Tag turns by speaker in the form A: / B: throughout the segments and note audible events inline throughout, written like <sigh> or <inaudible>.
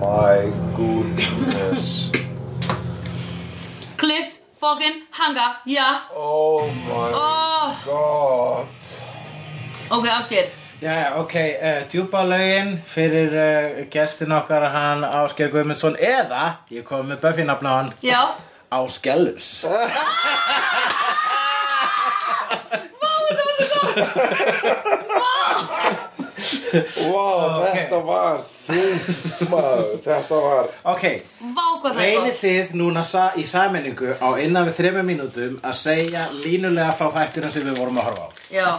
A: My goodness.
B: Cliff fucking hanga, já
A: Oh my
B: oh,
A: god.
B: Ok, afskir
C: Já, ok, uh, djúbalögin fyrir uh, gestin okkar hann Ásker Guðmundsson eða, ég kom með Buffy nafna á hann,
B: Já,
C: Áskellus.
A: Vá, þetta var þungt maður. Þetta var...
C: Ok,
B: vá hvað það er
C: reynið
B: gott
C: þið núna sa í sammenningu á innan við þrema mínútum að segja línulega frá þættinum sem við vorum að horfa á.
B: Já,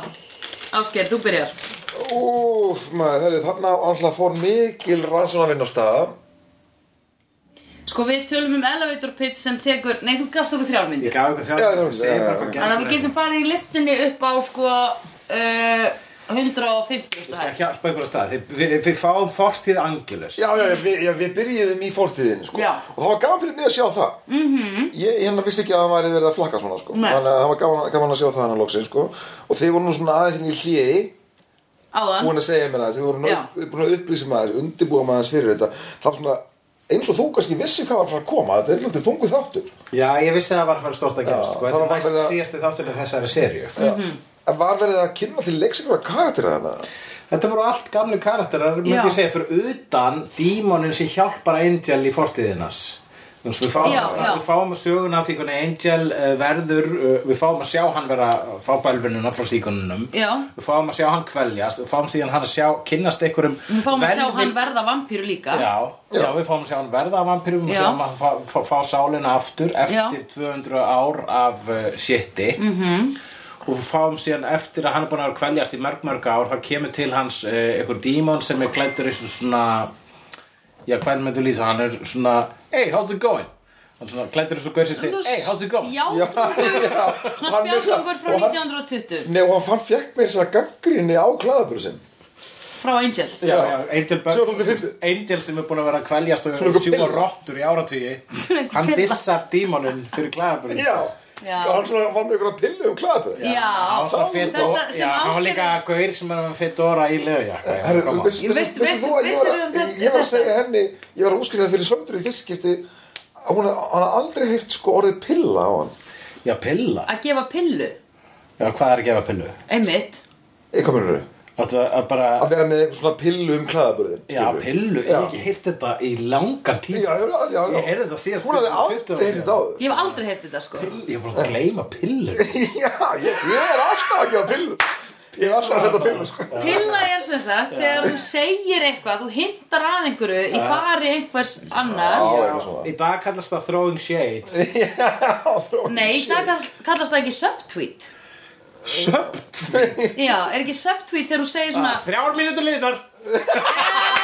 B: afskir, þú byrjar
A: Úf maður, þeirri, þarna alltaf fór mikil rannsónavinna á staða.
B: Sko við tölum um elevator pitch sem tekur Nei, þú gafst okkur þrjár
C: Ég
B: myndir
C: gaf ykkur
A: Já, já,
C: þrjá, segja bara
A: já, já.
C: hvað
B: Þannig að við
C: gerðist.
B: getum farið í liftunni upp á sko uh, 150
C: Ég skal
B: hæð.
C: hjálpa ykkur á stað, þið, við, við fáum fortíð Angelus.
A: Já, já, já, við, já, við byrjuðum í fórtíðin, sko.
B: Já. Mhm.
A: Og það var gaman fyrir mig að sjá það. Mm -hmm. Ég hérna vissi ekki að það væri verið að flakka svona, sko.
B: Nei.
A: Þannig að það var gaman, gaman að sjá það hann að loksin, sko. Og þið voru nú svona aðeins hérna í hliði.
B: Áðan
A: búin að segja mér það, þið voru nú
B: Já.
A: upp- búin að upplýsa maður, undirbúa maður fyrir þetta það var svona, eins og þú kannski vissi hvað var að fara að koma, þetta er hluti þungu þáttur
C: Já, ég vissi að það var að fara stort að gerast,
A: Já, það
C: sko, þetta
A: var
C: er næst
A: bara-
C: síðasti þáttur með þessari serju.
B: Mhm.
A: en var verið að kynna til leiks einhverja karakterið hana
C: Þetta voru allt gamlu karakterar,
B: Já.
C: myndi ég segja, fyrir utan dímonin sem hjálpar Angel í fortíðinas. Þú veist, við fáum,
B: Já, já.
C: við fáum söguna af því hvernig Angel uh, verður, uh, við fáum að sjá hann vera, fá bælfununa frá síkonunum.
B: Já.
C: Við fáum að sjá hann kveljast, við fáum síðan hann að sjá, kynnast einhverjum.
B: Við fáum að sjá
C: velvil-
B: hann verða vampíru líka
C: Já, já, við fáum að sjá hann verða af vampirum og
B: Já.
C: sjá hann fá, fá, fá sálina aftur eftir
B: Já.
C: 200 ár af uh, shiti
B: Mhm.
C: -hmm. og við fáum síðan eftir að hann er búin að kveljast í mörg mörg ár þá kemur til hans uh, einhver dímon sem er klæddur eins og svona já, hvernig myndu lýsa, hann er svona hey, how's it going? hann er svona klæddur eins og gaur sem segir hey, how's it going?
B: <laughs> Já,
A: Já, já,
B: svona
A: hann vissi það.
B: spjálfungur frá
A: Og hann-
B: 1920
A: Nei, og hann fann fekk mér þess að gaggrinni á klæðaburðu sinn
B: Frá Angel
C: Já, já, Angel,
A: Svo þú
C: Berg,
A: finnst-
C: Angel sem er búin að vera að kveljast
A: Svona
C: og
A: einhver
C: sjúa
A: pilla.
C: rottur í áratvíi
B: Svona einhver
C: hann
B: pilla.
C: dissar dímonin fyrir klæðaburinn
A: Já,
B: Já.
A: og hann svona var með einhverja pillu um klæðaburðu
B: Já,
C: Ása Fedora,
B: þetta sem
C: já, hann var
B: Ásgeir-
C: líka gaur sem er með Fedora í leðujakka
B: Ég veist- veist-
A: þú að ég var,
B: vissirðu um
A: að-
B: þetta-
A: ég var að segja
B: þetta?
A: henni ég var að úskilja það fyrir söndru í fyrstskipti að hún hann aldrei heyrt sko orðið pilla á hann
C: Já, pilla
B: Að gefa pillu,
C: Já, hvað er að gefa pillu?
B: einmitt
A: eitthvað munur
C: Áttu að bara,
A: að vera með einhver svona pillu um klæðaburðin
C: já, pillu Ég
A: Já.
C: hef ekki heyrt þetta í langan
A: Já,
C: tíma
A: já, já, já.
C: Ég heyrði þetta síðast
A: Hún hafði
C: 20 ára
A: aldrei heyrði þetta
C: síðan.
A: áður <laughs>
B: Ég hef aldrei heyrt þetta sko
C: Ég er bara að gleyma pillu
A: Já, ég, ég er alltaf að gefa pillu Ég er alltaf að setja pillu sko.
B: Pilla er sem sagt þegar þú segir eitthvað, þú hintar að einhverju í fari einhvers annars
A: Já, eitthvað svona.
C: Í dag kallast það throwing shade
B: Nei, það kall- kallast það ekki subtweet
C: Söpt
B: Já, er ekki subtweet þegar þú segir svona
C: Þrjár mínútur liðnar
B: "Ah!"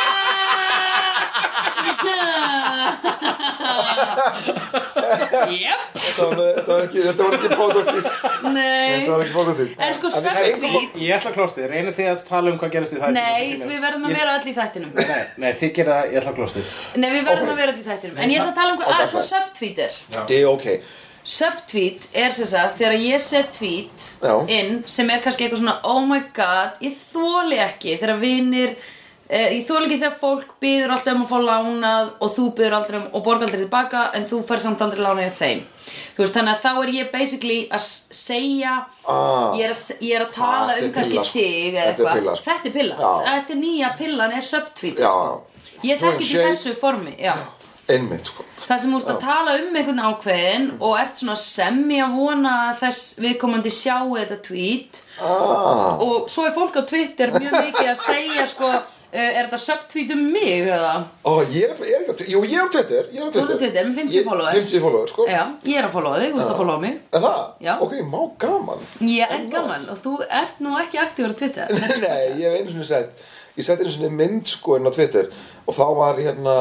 B: Jep,
A: Þetta var- þetta var ekki, þetta var ekki produktíft
B: <laughs> nei
A: Þetta var ekki produktíft
B: En sko
A: við eigum að-
B: subtweet
C: Ég ætla að klósti, reynið þið að tala um hvað gerist í þættinum
B: Nei,
C: sem kemur.
B: við verðum að
C: Ég-
B: vera öll í þættinum
C: Nei, nei, þið gerið það, ég ætla að klósti
B: Nei, við verðum að vera öll í þættinum En ég ætla að tala um hvað að hvað subtweet er
A: Þetta er ok
B: Subtweet er sem sagt þegar ég set tweet
A: Já.
B: inn sem er kannski eitthvað svona oh my god, ég þóli ekki þegar vinir, eh, ég þóli ekki þegar fólk byður alltaf um að fá lánað og þú byður aldrei um og borgar aldrei tilbaka en þú fær samt aldrei lánað hjá þeim þú veist þannig að þá er ég basically að s- segja
A: Ah.
B: ég, er að, s- ég er að tala
A: Þetta er
B: um kannski
A: pilla, sko.
B: þig eða
A: Þetta er
B: eitthvað.
A: pilla, sko.
B: þetta er pilla,
A: Já.
B: þetta er nýja pillan er subtweet
A: Já.
B: sko. ég
A: Throwing
B: þekki
A: shade.
B: til þessu formi já.
A: Einmitt sko
B: Það sem úrst að tala um einhvern ákveðin og ert svona semmi að vona að þess viðkomandi sjáu þetta tweet
A: ah,
B: og svo er fólk á Twitter mjög mikið að segja sko uh, er þetta subtweet um mig eða
A: Ó, Oh, ég er, ég er ekki, jú, ég er á Twitter Ég er á Twitter,
B: Þú ert á Twitter með 50
A: Ég-
B: followers.
A: 50 followers sko
B: Já, ég er að followa þig, þú ert að followa mig
A: Er það?
B: Já.
A: Ok, má gaman
B: Ég er gaman og þú ert nú ekki aktífur á
A: <laughs>
B: Twitter <laughs>
A: Nei, ég hef einu sinni sett Ég sett einu sinni mynd sko inn á Twitter Og þá var hérna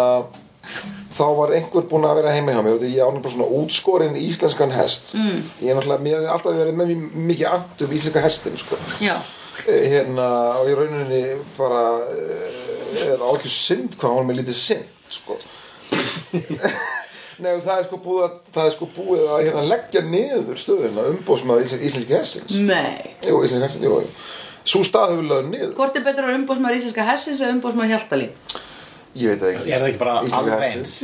A: þá var einhver búinn að vera heima hjá mér og því ég ánum bara svona útskorinn íslenskan hest mm. ég er náttúrulega, mér er alltaf verið með mjög mikið andur um íslenska hestin sko.
B: já,
A: Eh, hérna og í rauninni bara eh, er alveg synd hvað hún er með lítið synd sko <laughs> Nei, og það er sko búið að, það er sko búið að hérna, leggja niður stöðuna umbóðsmaður íslensk, íslenski
B: Mm.
A: hestins
B: nei
A: Jú, íslenski hestins, jú, jú Sú stað hefur lögð niður
B: Hvort er betra að umbóðsmaður íslenska hersins eða umbóðsmaður hjaltalín?
A: Ég veit það ekki
C: Er það ekki bara
A: Íslenski
C: alveg
A: hesturinn. <laughs>
C: eins?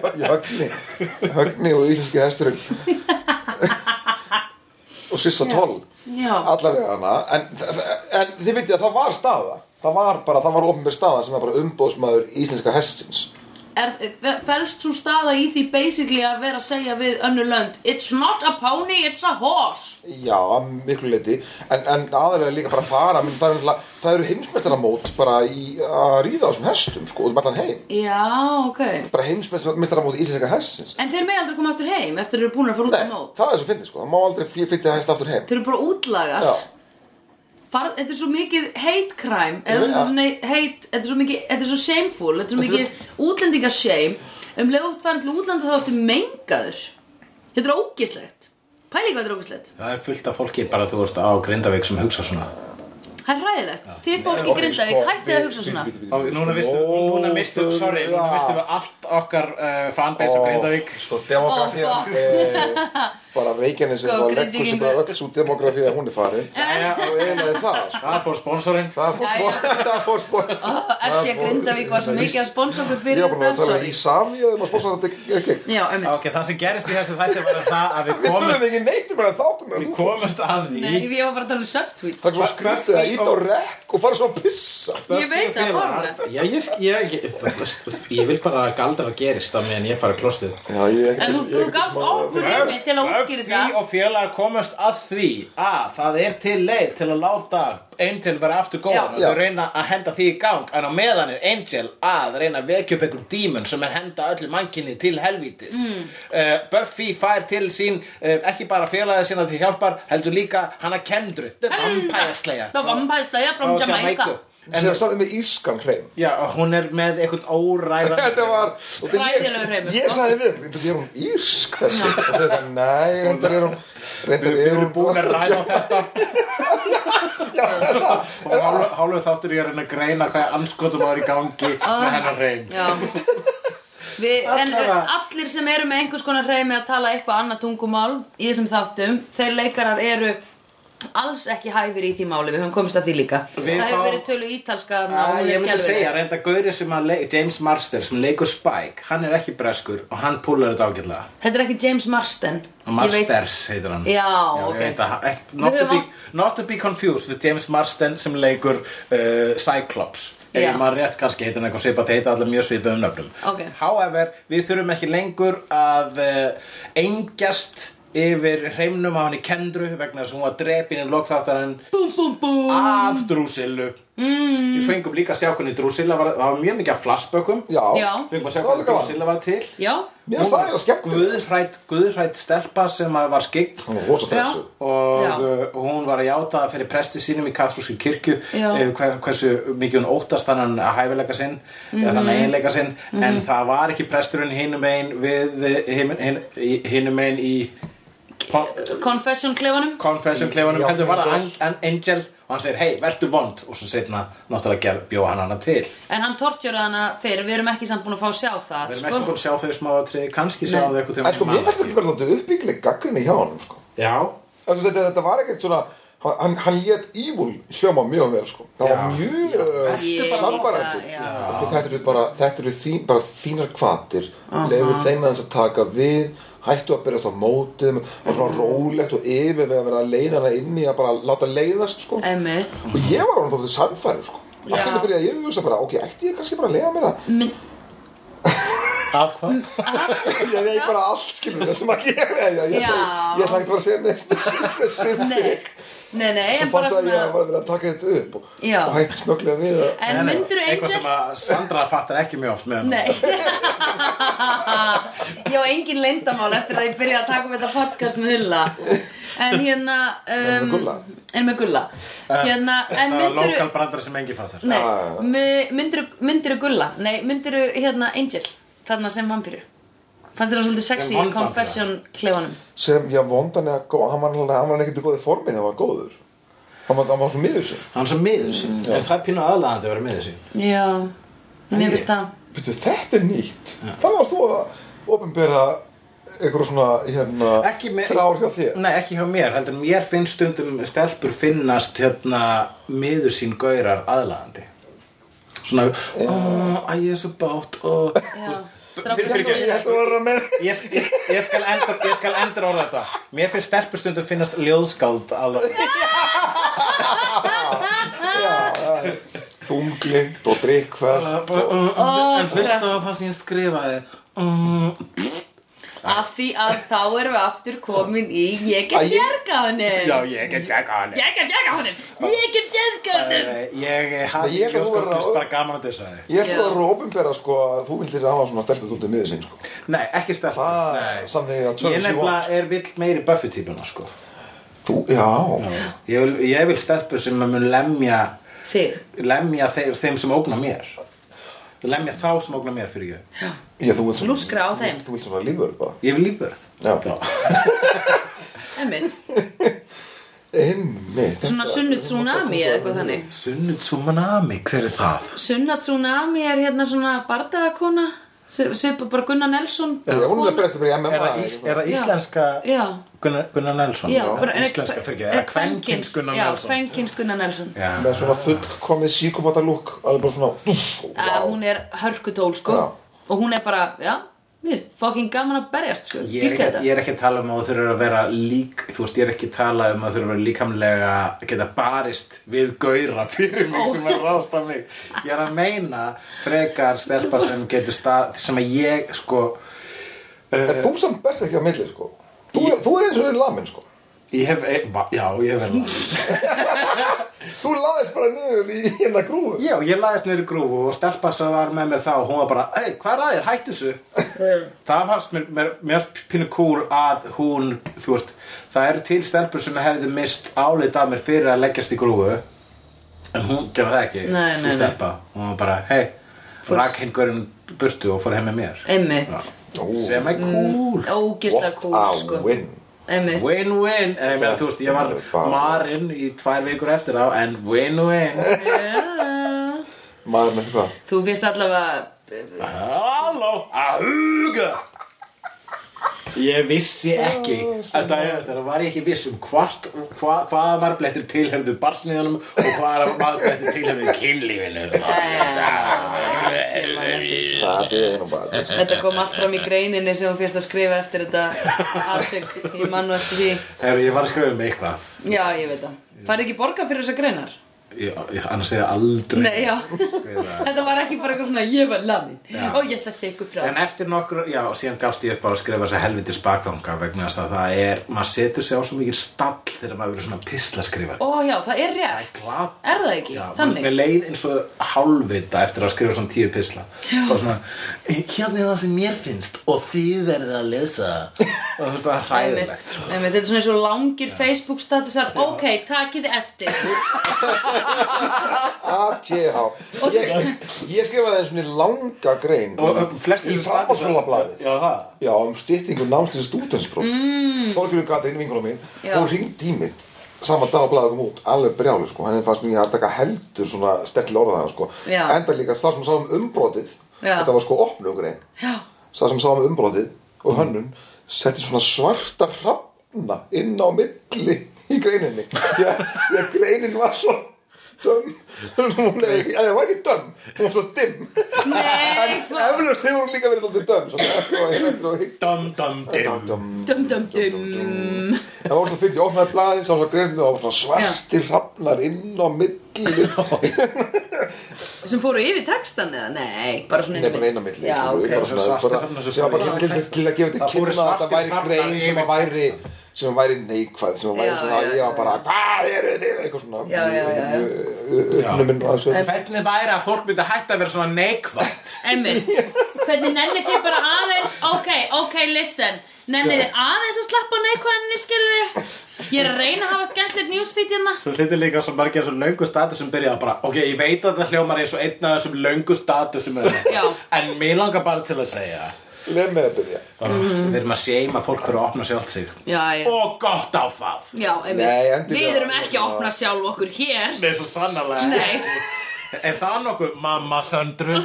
B: Já,
A: Já, Högni Högni og íslenski
C: <laughs>
A: hesturinn og Sissa 12
B: <laughs> já,
A: allavega hana en, en þið veitir að það var staða það var bara, það var ofnbjörn staða sem var bara umbóðsmaður íslenska hestins
B: er, fe- felst svo staða í því basically að vera að segja við önnur lönd It's not a pony, it's a horse
A: Já, að miklu leiti en, en aðalega líka bara fara menn, það, er, náttúrulega- það eru heimsmestaramót bara í að ríða á þessum hestum sko, og það heim
B: Já, ok
A: bara heimsmestaramót íslenska hestins
B: En þeir megi aldrei koma aftur heim eftir þeir eru búin að fara út
A: Nei,
B: á mót
A: það er svo fyndið sko, það má aldrei fly- flytja hest aftur heim
B: Þeir eru bara útlagar
A: Já,
B: Far, Þetta er svo mikið hate crime
A: Já.
B: eða þetta er svona hate, þetta er svo mikið þetta er svo shameful, þetta er svo
A: Þetta er-
B: mikið útlendingashame um leið út farin til útlanda þá ertu mengaður Þetta er ógislegt Pæli hvað þetta er ógislegt
C: Það er fullt af fólki bara þú veist á Grindavík sem hugsa svona
B: Það er hræðilegt Þið fólk í
A: ok,
B: Grindavík,
A: sko,
B: hættið að
A: við-
B: hugsa
A: við-
B: svona
A: við- við-
C: Ó, Núna vistu, núna vistu, sorry, núna vistu við allt okkar uh, fanbase á Grindavík
A: Sko,
B: Ó,
A: demografíðan
B: fuck.
A: eh, bara reyginni sem
B: Sko,
A: það leggur sem bara
B: Grindvíkingur.
A: öll svo demografíða hún er farin
C: Jæja,
A: og eiginlega það sko.
C: Það fór sponsorinn
A: það fór spór <laughs> það fór spór
B: Þessi að Grindavík var svo mikið að sponsa okkur
A: ég
B: fyrir
A: var búin að
B: þetta
A: tala um
B: sorry.
A: í sami og maður spór samt að þetta ekki
B: Já, einmitt
C: Ok, það sem gerist í þessu þætti var það að við
A: við
C: komumst,
A: tölum ekki neitt um að þáttum
C: við
A: það
C: komumst að því
B: Nei, ég var bara að tala um subtweet
A: er svo skrítið að íta á rekk og fara svo að pissa
B: Ég veit að fara
C: Já, ég, sk- ég, ég, ég, ég vil bara að galdra gerist á meðan ég fara klostið
A: já, ég er
B: En þú, þú gafst okkur einmitt til að útskýra
C: Buffy
B: þetta
C: og félagar komast að því að það er til leið til að láta Angel vera aftur góðan og
A: Já.
C: þau reyna að henda því í gang en á meðan er Angel að reyna að vekja upp einhver dímun sem er henda öllu mannkinni til helvítis mm. Buffy fær til sín uh, ekki bara félagið sína til hjálpar heldur líka hana Kendru The Vampire Slayer
B: Það var vampærslega frá Jamaica
A: sem saði með ískan hreim
C: Já, og hún er með einhvern óræðan
A: þetta var og þetta ég-
B: Hræðilegur hreimur,
A: ég
B: sko.
A: sagði við "Bíddu, er hún írsk þessi og þau bara nei reyndar er hún reyndar
C: Við
A: er
C: erum
A: hún
C: búin að ræða þetta
A: já það er það
C: og hálfu- hálfu þáttur ég að reyna að greina hvað anskotum var í gangi með hennar reyn
B: Ah. Já Við, en eh,
C: Allavega.
B: allir sem eru með einhvers konar reymi að tala eitthvað annað tungumál í þessum þáttum, þeir leikarar eru alls ekki hæfir í því máli við höfum komist að því líka
C: Við
B: það hefur
C: fá-
B: verið tölu ítalska þarna og
C: Ah,
B: hún er
C: ég myndi
B: skelfileg.
C: segja, reynda Gauri sem að leik, James Marster sem leikur Spike, hann er ekki breskur og hann púlar þetta ágætlega
B: þetta er ekki James Marston
C: og Marsters heitir hann
B: Já,
C: ég
B: ok.
C: veit að hann- ek- not,
B: Við
C: to be,
B: höfum
C: not to be confused with James Marston sem leikur uh, Cyclops ef
B: Já.
C: ég maður rétt kannski heitir hann eitthvað svipað þeir heita allar mjög svipað um nöfnum
B: Ok.
C: however, við þurfum ekki lengur að uh, engjast yfir hreimnum á henni Kendru vegna þess að hún var drepin í lokþáttarinn
B: búm, búm, búm.
C: af Drúsillu mm. Við fengum líka að sjá hvernig Drúsilla var Það var mjög mikið af flashbökkum
A: já
B: Já.
C: Fengum að sjá
A: Það var
C: hvernig
A: gaman.
C: Drúsilla var til
B: já,
A: Mér finnst það eiginlega skemmtilegt.
C: Guðhrætt, guðhrætt stelpa sem að var skygg
A: Hún var rosa stressu.
B: Já. Já.
C: og uh, hún var að játa það fyrir presti sínum í katholski kirkju
B: Já.
C: eh, hve- hversu mikið hún óttast þannan að hæfileika sinn eða
B: Mhm.
C: þannan eiginleika sinn en það var ekki presturinn hinum einn við eh, him- hin- í- hinum einn í kon-
B: Confession klefanum
C: confession klefanum
A: Já,
C: heldur var það
A: já.
C: An- An- Angel og hann segir hei, vertu vond og svo setna náttúrulega ger- bjó hann hana til
B: en hann tortjóraði hana fyrir, við erum ekki samt búin að fá að sjá það sko.
C: við erum ekki búin að sjá þau smá atriði kannski sjá
B: Nei.
C: þau eitthvað
A: En sko, mér finnst þetta bara náttúrulega uppbyggileg gaggrinni hjá hann, sko.
C: já,
A: Þessu, þetta, þetta var ekkert svona, hann, hann lét ívul hljóma mjög vel, sko. Það var
C: Já.
A: mjög
B: Ég-
A: uh, samfærandi.
B: Já.
A: Sko, Þetta eru bara, þetta eru þín, bara þínar kvatir. Uh -huh. Lefu þeim aðeins að taka við, hættu að byrjast á mótið, og svona rólegt og yfirlega verið að leiða hana inn í að bara láta leiðast, sko.
B: einmitt
A: Og ég var hann þóttið samfærið, sko.
B: Já.
A: Alltaf byrjaði ég að hugsa bara, ok, ætti ég kannski bara að leiða mér það?
B: Minn,
C: að hvað?
A: Ég veit bara allt, skilur við, sem að gera Ég, ég, ég,
B: Já.
A: ég ætla ekki bara að segja neitt
B: nei,
A: spesifik
B: nei, nei
A: Svo
B: en bara
A: fatt að ég
B: svona
A: að var að vera að taka þetta upp og,
B: Já.
A: og hætti snögglega við að
B: en
C: Nei, nei,
B: myndirðu Angel
C: eitthvað sem að Sandra fattar ekki mjög oft með
B: <laughs>
C: honum.
B: Nei Ég á engin leyndamál eftir að ég byrja að taka um þetta podcast með Hulla en hérna
A: En með Gulla.
B: en með gulla hérna, en
C: Eh, Það er Ah, lokal
B: myndiru
C: brandar sem engin fattar
B: nei,
A: Já, já, já.
B: mi- myndiru, myndiru gulla nei, myndiru hérna Angel þarna sem vampíru fannst þér það svolítið sexy í
C: vond vampíra.
B: confession klefanum
A: sem ég vondan eða góð, hann var, alveg- hann var ekkert í góði formi þegar hann var góður hann var, hann var svo miður sér
C: Hann er svo miður sín
A: Mm,
C: En það er pínu aðlaðandi að vera miður sín
B: já,
A: Æi.
B: mér finnst það
A: Býtu, þetta er nýtt þannig varst þú að opinbera einhverja svona hérna,
C: ekki með,
A: þrár hjá þér
C: Nei, ekki hjá mér, heldur mér finnst stundum stelpur finnast hérna miður sín gaurar aðlaðandi svona ó, æ, ég er svo bát ó.
B: Já.
C: Fyrir- fyrir-
A: ég ætla að vera með
C: ég, ég, ég skal endur ég skal endur orða þetta mér finnst stelpur stundum finnast ljóðskáld aðlaðandi
A: þunglind og drikkfest
C: Bara, ó,
B: Ó,
C: en hlusta á það sem ég skrifaði Mm. Ó,
B: af því að þá erum við aftur komin í
A: Æi.
B: ég get bjargað honum
C: já, ég get ekki að
B: ég get bjargað honum ég get bjargað honum
C: eh, ég
A: Nei,
C: hafi
A: ég ætla að
C: ljóðskáld
A: vera-
C: finnst bara gaman að þess að
A: ég ætla
B: Já.
A: að vera að opinbera sko að þú vildir að hafa svona stelpur svolítið miður sín sko
C: nei, ekki
A: Það
C: stelpur
A: er
C: nei.
A: something that turns
C: ég
A: you
C: nefnilega er vill meiri Buffy típuna sko
A: þú, já,
C: Ég vil, ég vil stelpur sem að mun lemja
B: þig
C: lemja þeir, þeim sem ógna mér lemja þá sem ógna mér fyrir ég
A: ég þú vilt svona
B: Lúskra á þeim.
A: þú vilt svona lífverð bara
C: ég vil lífbörð
A: Já.
B: Einmitt.
A: einmitt
B: Svona sunnu tsunami eða eitthvað þannig
C: Sunnu Tsumanami, hver er það?
B: Sunna tsunami er hérna svona bardagakona Svipa bara Gunnar Nelson
A: Já, hún er að
B: kona.
A: breyta bara í MMA
C: Er það, ís, er það íslenska
B: Já
C: Gunnar, Gunnar Nelson?
B: Já, bara- eh,
C: íslenska fyrir ekki, eða kvenkins Gunnar
B: Já,
C: Nelson
B: kvenkins Gunnar Nelson
C: Já,
A: með svona fullkomið síkomata lúk alveg bara svona
B: Að Hún er hörkutól sko
A: Já.
B: Og hún er bara, já, mér finnst fucking gaman að berjast sko
C: Ég er,
B: Dýrka
C: ekki,
B: þetta
C: ég er ekki að tala um að þú þurfur að vera lík þú veist, ég er ekki að tala um að þú þurfur að vera líkamlega að geta barist við gauðra fyrir mig sem er ráðst af mig ég er að meina frekar stelpa sem getur stað sem að ég sko
A: en þú samt best ekki á milli sko þú, þú er eins og er lamin sko
C: ég hef, e, va- já, ég hef verið
A: þú laðist bara niður í hérna grúfu
C: já, ég laðist niður í grúfu og stelpa sem var með mér þá hún var bara, ei, hvað er að þér, hættu þessu það fannst mér, mér, mér fannst pínu cool að hún, þú veist það eru til stelpur sem hefðu mist álið af mér fyrir að leggjast í grúfu en hún gerði það ekki
B: Nei,
C: sú
B: nei, nei.
C: stelpa, hún var bara, hei rak hinn gaurinn burtu og fór heim með mér
B: Einmitt
C: sem
B: Mm,
C: er cool
B: Ógislega
A: What
B: cool
A: a
B: sko
A: win.
B: Einmitt
C: win-win, Eh, ég meina, þú veist, ég var
A: Bara-
C: marinn í tvær vikur eftir á en win-win
B: Já.
A: maður með hvað
B: <laughs> Þú finnst allavega
C: Halló, að huga Ég vissi ekki að daginn eftir að var ég ekki viss um hvart, hva, hvaða marblettir tilherðu barsniðunum og hvaða marblettir tilherðu kynlífinu
B: <laughs> Eh,
A: það er nú bara <laughs> þetta, sko.
B: Þetta kom allt fram í greininni sem þú fyrst að skrifa eftir þetta atvik, ég man nú eftir því
C: Ef ég var að skrifa um eitthvað
B: Já, ég veit það. Farið ekki borga fyrir þessar greinar?
C: ég, ég, annars segja aldrei
B: Nei, já.
C: skrifa.
B: Þetta var ekki bara eitthvað svona, ég var lamin
C: Já.
B: og ég ætla að segja ykkur frá.
C: En eftir nokkur, já, síðan gafst ég upp á að skrifa þessa helvitis bakdanga vegna þess að það er, maður setur sig á svo mikið stall þegar maður verður svona pislaskrifar
B: Ó já, það er rétt.
C: Glata
B: Er það ekki?
C: Já, mér-
B: Þannig.
C: Mér leið eins og hálfvita eftir að skrifa svona tíu pisla Bara svona, hérna er það sem mér finnst og þið verðið að lesa Og þú veist það er hræðilegt
B: <laughs> Einmitt,
C: sko.
B: einmitt, þetta er svona eins og langir Facebook statusar, ok, takið þið eftir.
A: ATH ég, ég skrifaði einu svona langa grein
C: Og og flestir
A: í
C: sem
A: framhaldsskólablaði
C: Já, það
A: Já, um styttingu námslega stúdenspróf mm. Þorgjörðu Katrín, vinkunum mín
B: Já.
A: Hún ringdi í mig Saman dag að blaða kom út, alveg brjálu sko Henni fannst mér að taka heldur svona sterkli orða það sko
B: Já.
A: Enda líka sá sem sá um umbrotið
B: Já.
A: Þetta var sko opnugrein
B: Já,
A: Sá sem sá um umbrotið og hönnun Setti svona svarta hrafna inn á milli í greininni Því að því að greinin var svo döm Hún er ekki, eða, hún var ekki döm Hún var svo dimm
B: nei,
A: En
B: hvað?
A: eflaust hefur hún líka verið alltaf döm Svona eftir og eftir og hitt
C: Dum, dum, dim
A: Döm
B: Dum, dum, dum.
A: Það var svona fyrir, ég opnaði blaði, sá svona greinu og svona svartir hrafnar inn á milli
B: Sem fóru yfir textan eða? Nei, bara svona
A: Nei, bara eina milli
B: Já,
A: skilur við, bara
B: ok.
A: svona-
C: Svartir
A: bara-
C: hrafnar sem
A: Sem var bara
C: fóru
A: til, til, til að gefa til
C: Það fóru
A: kynna að
C: svartir
A: það væri
C: hrafnar
A: grein sem
C: yfir
A: að væri
C: textann.
A: sem að væri neikvæð, sem að væri
B: Já,
A: svona
B: já,
A: ég var bara, hvað eru þið, eitthvað svona
B: Já, já, já, já.
A: uppnuminn að þessu
C: Hvernig væri að fólk myndi hætta að vera svona neikvætt
B: Einmitt. Hvernig nennið þið bara aðeins Ok, ok, listen Nennið þið aðeins að slappa á neikvæðinni, skilur Ég er að reyna að hafa skemmtilegt newsfeed hérna
C: Svo hlutir líka svo margir þessum löngu status sem byrjaði bara Ok, ég veit að það hljómar eins og einn af þessum löngu status sem
B: <laughs> Já.
C: öðru En mér langar bara til að segja
A: Leð mér að byrja
C: oh,
B: Mhm.
C: Við erum að seima fólk fyrir að opna sjálf sig
B: Já, já,
C: Og gott á það
B: já einmitt.
A: Nei, endilega.
B: Við erum ekki að opna sjálf okkur hér
C: Nei, svo sannarlega
B: Nei.
C: Er það nokkuð mamma söndru?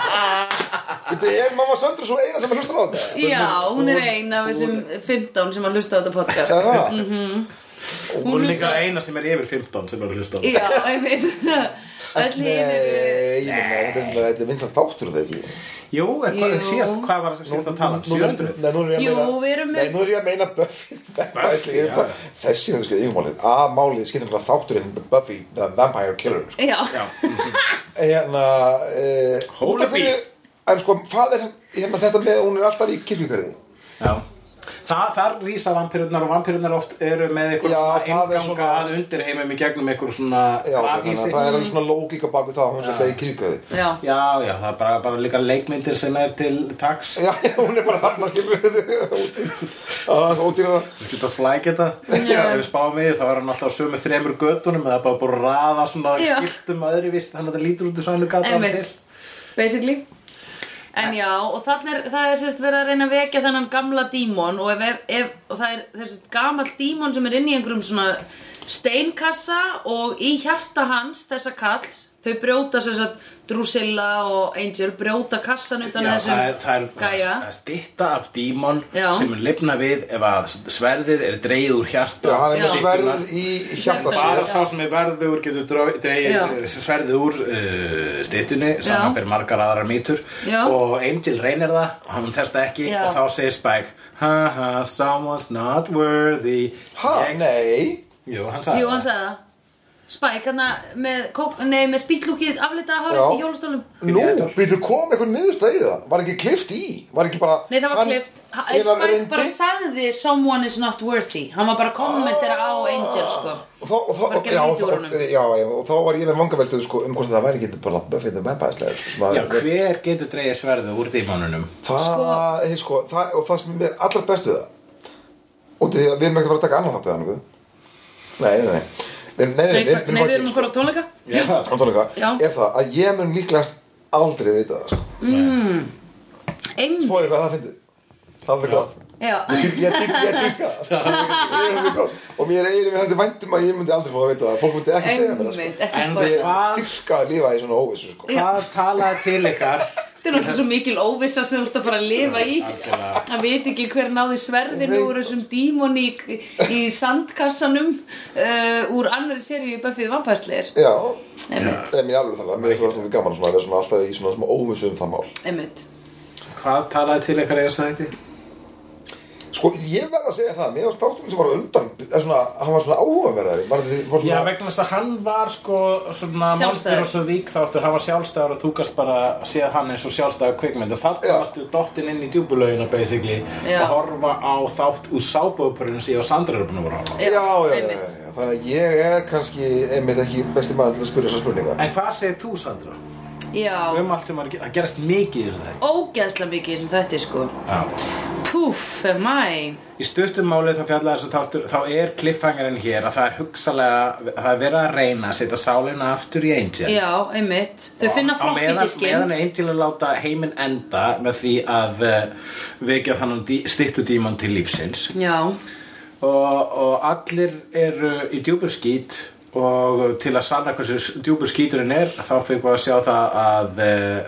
A: Þetta er mamma Söndru svo eina sem er hlustar á þetta
B: <laughs> Já, hún er ein af þessum 15 sem að hlusta á þetta podcast
A: Það er það
B: Mhm.
C: Hún er líka eina sem er yfir 15 sem eru hlust á
B: Já, einmitt Öll
A: Nei, ég
B: hinn eru
A: meina, þetta er- þetta er vinsan þáttur þegar ekki
C: Jú,
A: eh,
C: er hvað,
B: Jú.
C: síðast, hvað var síðast að tala?
A: Nú- nú-
C: 700?
A: Nei, nú er ég að
B: Jú,
A: meina
B: við erum með-
A: Nei, nú er ég að meina Buffy <laughs>
C: Buffy,
A: Buffy,
C: já.
A: Þessi er það skil yfirmálið A málið skiptir náttúrulega þátturinn Buffy the Vampire Killer sko.
B: Já,
C: Já,
A: Hérna eh,
C: Holy
A: út af hverju-
C: beat.
A: En sko, hvað er hérna þetta með Hún er alltaf í kirkjúkarði
C: já Þa, þar rísa vampirurnar og vampirurnar oft eru með einhver
A: Já,
C: svona
A: það er
C: inganga
A: svona-
C: að undirheimum í gegnum einhver svona
A: Já, ok, þannig
C: grafhýsi.
A: að það er alveg svona lógíka baku það að Hún er alltaf í kirkjúkarði
B: já
C: Já, já, það er bara, bara líka leikmyndir sem er til taks
A: Já, já, hún er bara þarna skilur <laughs> Útýra Útýra
C: Þú getur að flækja þetta
A: Já.
C: Ef við spáum í því, þá er hann alltaf á sömu þremur götunum eða bara búið að raða svona
B: Já.
C: skiltum öðruvís þannig að þetta lítur út í svona gata af
B: Einmitt.
C: til
B: basically En já, og þannig er, það er sérst verið að reyna að vekja þennan gamla dímon og, ef, ef- ef, og það er þessi gamall dímon sem er inn í einhverjum svona steinkassa og í hjarta hans, þessa kalls, þau brjóta sérst að Drusilla og Angel brjóta kassan utan
C: Já,
B: að
C: það er, það er
B: þessum gæja.
C: það er stytta af dímon
B: Já.
C: sem mun lifna við ef að sverðið er dreigð úr hjarta
A: Já, hann er með
B: Já.
A: sverð í hjarta sér
C: Bara sá sem er verður getur dró- dregið
B: Já.
C: eh, sverðið úr uh, styttunni sem
B: Já.
C: hann ber margar aðrar mýtur
B: Já.
C: og Angel reynir það og hann testa ekki
B: Já.
C: og þá segir Spike ha ha, someone's not worthy
A: Ha,
C: Ég-
A: nei
C: Jú, hann sagði
B: Jú, hann sagði það. Spike, hann með, kók- nei, með spýtlúkið aflitaða hárið
A: Já.
B: í hjólastólum.
A: Nú, býtu kom eitthvað niðurstæði það Var ekki klift í Var ekki bara
B: Nei, það var
A: hann-
B: klift. Ha-
A: Ef hann
B: Spike
A: reyndi-
B: bara sagði someone is not worthy. Hann var bara að kommentera á Angel, sko.
A: Og þá, og þá,
B: Bara
A: og,
B: gerði
A: já, og,
B: lítið úr
A: og,
B: honum.
A: já, já, og þá var ég með vangaveldu sko, um hvort það væri ekki bara Buffy the Vampire Slayer sko, sem að-
C: Já, hver getur dreigið sverðið úr dímonunum?
A: það,
B: Sko-
A: hei, sko, það, og það sem er allra best við það og því að við erum ekki að fara að taka annað þátt við hann nei, nei, nei Við- nei, nei,
B: Nei,
A: nei,
B: hva- nei, við erum að
A: sko,
B: fara á tónleika.
C: Já,
A: Antónika,
B: Já.
A: er það að ég mun líklegast aldrei vita það sko.
B: Einmitt.
A: spóið hvað það fyndið það er það gott
B: Já,
A: Ég dýr- ég dýr- ég dýrka það. Ég er svolítið gott. og mér er eiginlega með þetta væntum um að ég myndi aldrei fá að vita það fólk myndi ekki segja mér það
B: einmitt.
A: sko.
B: ekki
C: En
B: bara-
C: við-
A: ég dyrka að lifa í svona óvissu sko.
C: Hvað talaði til ykkar?
B: Þetta er náttúrulega svo mikil óvissa sem þú ert að fara að lifa í.
C: Algjörlega.
B: Það veit ekki hver náði sverðinu
A: Nei.
B: úr þessum dímoni í, í sandkassanum uh, úr annari seríu í Buffyð vampæsleir.
A: já,
B: Einmitt,
A: það er mér alveg þannig mér er svona svolítið gaman svona, að vera svona alltaf í svona, svona óvissu um það mál
B: einmitt.
C: Hvað talaði til ykkar eða svo þetta?
A: sko, ég verð að segja það mér var státturinn sem var á undan er svona, hann var svona áhugaverðari var þið, var
C: Já,
A: svona,
C: vegna þess að hann var sko svona
B: Sjálfstæður.
C: málstjórn og svo vík þáttur, hann var sjálfstæður og þú gast bara séð hann eins og sjálfstæður kvikmynd og þarna
A: Já.
C: varstu dottinn inn í djúbulögina basically
B: Já.
C: og horfa á þátt úr sábúðupurinn síðan og Sandra er búin að voru að horfa á.
A: já, já, já, já,
B: einmitt.
A: já, þannig að ég er kannski einmitt ekki besti maður til að spyrja þessa spurninga
C: En hvað segir þú Sandra?
B: Já,
C: Um allt sem var að gera, það gerast mikið í þetta
B: ógeðslega mikið sem þetta er sko.
C: Já.
B: Púff, er mæ.
C: Í stuttum málið þá fjallaði þessu þáttur, þá er cliffhangerinn hér að það er hugsalega, það er verið að reyna að setja sálina aftur í Angel
B: Já, einmitt. Þau
C: Og
B: finna
C: á meðan-
B: floppidiskin.
C: meðan er einn til að láta heiminn enda með því að uh, vekja þannig dí, stittu díman til lífsins
B: Já,
C: og, og allir eru í djúpur skít og til að sanna hversu s- djúpur skíturinn er þá fengum við að sjá það að uh,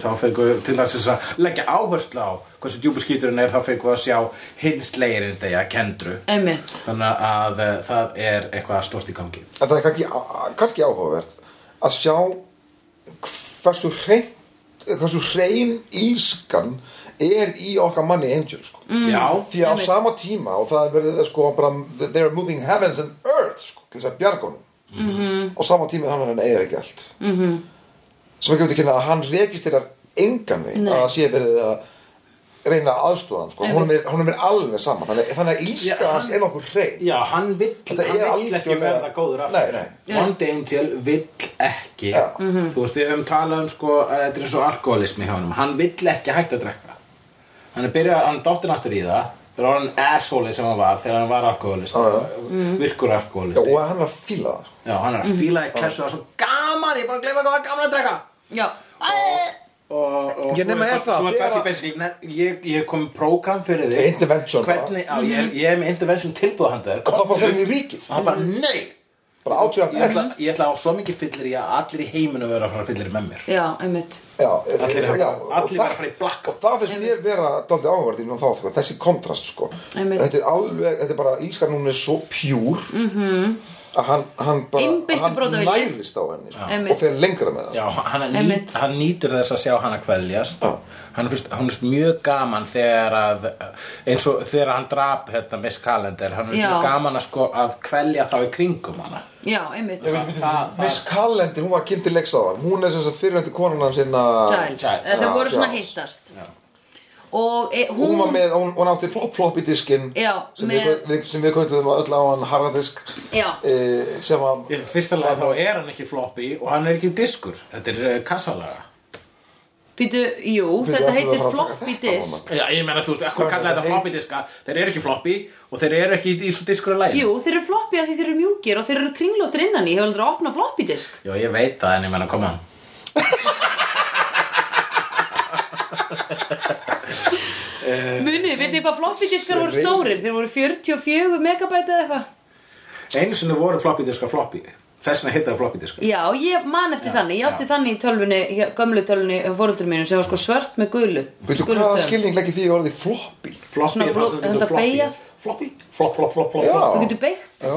C: þá fengum við til að, sem sagt leggja áherslu á hversu djúpur skíturinn er þá fengum við að sjá hins leirinn degja kendru
B: einmitt.
C: þannig að uh, það er eitthvað stort í gangi
A: en það er kannski, kannski áhugavert að sjá hversu hrein hversu hrein ílskan er í okkar manni Angel sko.
C: Já,
A: því að á
B: Mm. Einmitt.
A: sama tíma og það er verið sko, bara, they're moving heavens and earth sko, til þess að bjarga honum
B: Mhm.
A: -hmm. og sama tíma þannig að hann eiga ekki allt -hmm. sem ekki veit ekki að hann registrar engan veginn
B: Nei.
A: að það sé verið að reyna að aðstoða hann sko. hún, er, hún er alveg sama þannig, þannig að ílska
C: Já,
A: hans
C: hann-
A: er nokkuð hrein
C: Já, hann vill,
A: Þetta
C: hann
A: er
C: vill ekki
A: algjörlega-
C: verða góður aftur
A: Nei,
B: nei.
C: One Day Angel vill ekki
A: Já.
C: Þú veist, við höfum talað um sko að þetta er svo alkoholismi hjá honum Hann vill ekki hægt að drekka Hann er byrjað, hann er dóttin aftur í það er orðin asshole sem hann var þegar hann var alkoholist
A: Já, já.
C: virkur
A: Já,
C: alkoholist
A: og hann er að fíla það sko.
C: já, hann er að fíla í klessu það er svo gaman, ég er bara að gleyma hvað var gaman að drekka
B: Já
C: og, og
A: Ég
C: svo
A: nema
C: er
A: er
C: bara-
A: það,
C: svo er
A: þegar-
C: Buffy basically ne- ég, ég er komið prógram fyrir þig
A: Intervention bara.
C: hvernig, á, ég, er-
A: Mhm.
C: ég er með intervention tilbúð handa
A: og það
C: þér
A: bara fyrir í ríkið
C: og hann bara nei
A: bara átjóða
C: ég ætla, ég ætla á svo mikið fyllir í að allir í heiminu vera að fara fyllir með mér
B: Já, einmitt
A: já,
C: Allir
A: eh,
C: hafa-
A: já,
C: allir
A: og
C: bara
A: það-
C: fara í blakk.
A: og það finnst mér vera dálítið áhverð innan þá sko, þessi kontrast sko
B: Einmitt.
A: þetta er alveg, þetta er bara ílskar núna er svo pjúr -hmm. að hann, hann bara
B: Mhm. Einbeittur
A: hann
B: brotavilji.
A: nærist á henni sko,
B: Einmitt.
A: og fer lengra með það
C: Já,
A: sko.
C: hann,
B: Einmitt.
C: nýt, hann nýtur þess að sjá hana kveljast
A: Já.
C: hann finnst, hann finnst mjög gaman þegar að eins og þegar hann drap hérna, Miss Calendar, hann finnst
B: Já.
C: mjög gaman að, sko, að kvelja þá í kringum hana
B: Já, einmitt
A: Ég veit,
C: það- það-
A: Miss Callendi, hún var kynnti leiksaðan hún er sem sagt fyrirhundi konan hans inna,
B: Giles Eh,
A: Já,
B: Þau voru svona
A: Giles.
B: hittast Og e,
A: hún,
B: hún
A: var með, hún, hún átti flop, floppy diskin
B: Já,
A: sem,
B: með-
A: við, við, sem við kvöldum öll á hann harðadisk
B: Já.
A: e, sem að
C: Í fyrsta lega þá er hann ekki floppy og hann er ekki diskur, þetta er eh, kassalaga
B: Býtu, jú,
A: Bíddu,
B: þetta
A: ætlum við
B: heitir
A: að fara að taka
B: floppy
A: þetta, mamma?
B: disk
C: Já, ég meina þú veist, hvað kalla
A: þetta
C: þetta floppy diska þeir eru ekki floppy og þeir eru ekki í svo diskur að lægin
B: Jú, þeir eru floppy að því þeir eru mjúkir og þeir eru kringlóttir innan í, hefur aldrei að opna floppy disk
C: Já, ég veit það en ég meina, koma hann
A: Eh,
B: Munið, veit þið hvað floppy diskar voru
A: Þessi
B: stórir? Þeir voru 44 megabæti eða eitthvað
C: Einu sinni voru floppy diska floppy þess vegna hittar floppy diska
B: Já, ég man eftir þannig, ég átti
C: já.
B: þannig í tölvunni, hjá- gömlu tölvunni fóröldur mínu sem var sko svört með gulu
A: Veitu
B: gulum
A: hvaða
B: stöfum.
A: skilning leggir því orðið floppy?
C: Floppy
B: Svona
C: er það sem
B: fló-
C: við
B: þetta
C: getum floppy
B: beygjað.
C: Floppy, flopp, flopp, flopp, flopp
A: Já.
C: flopp.
B: Þú getur beigt
A: Já.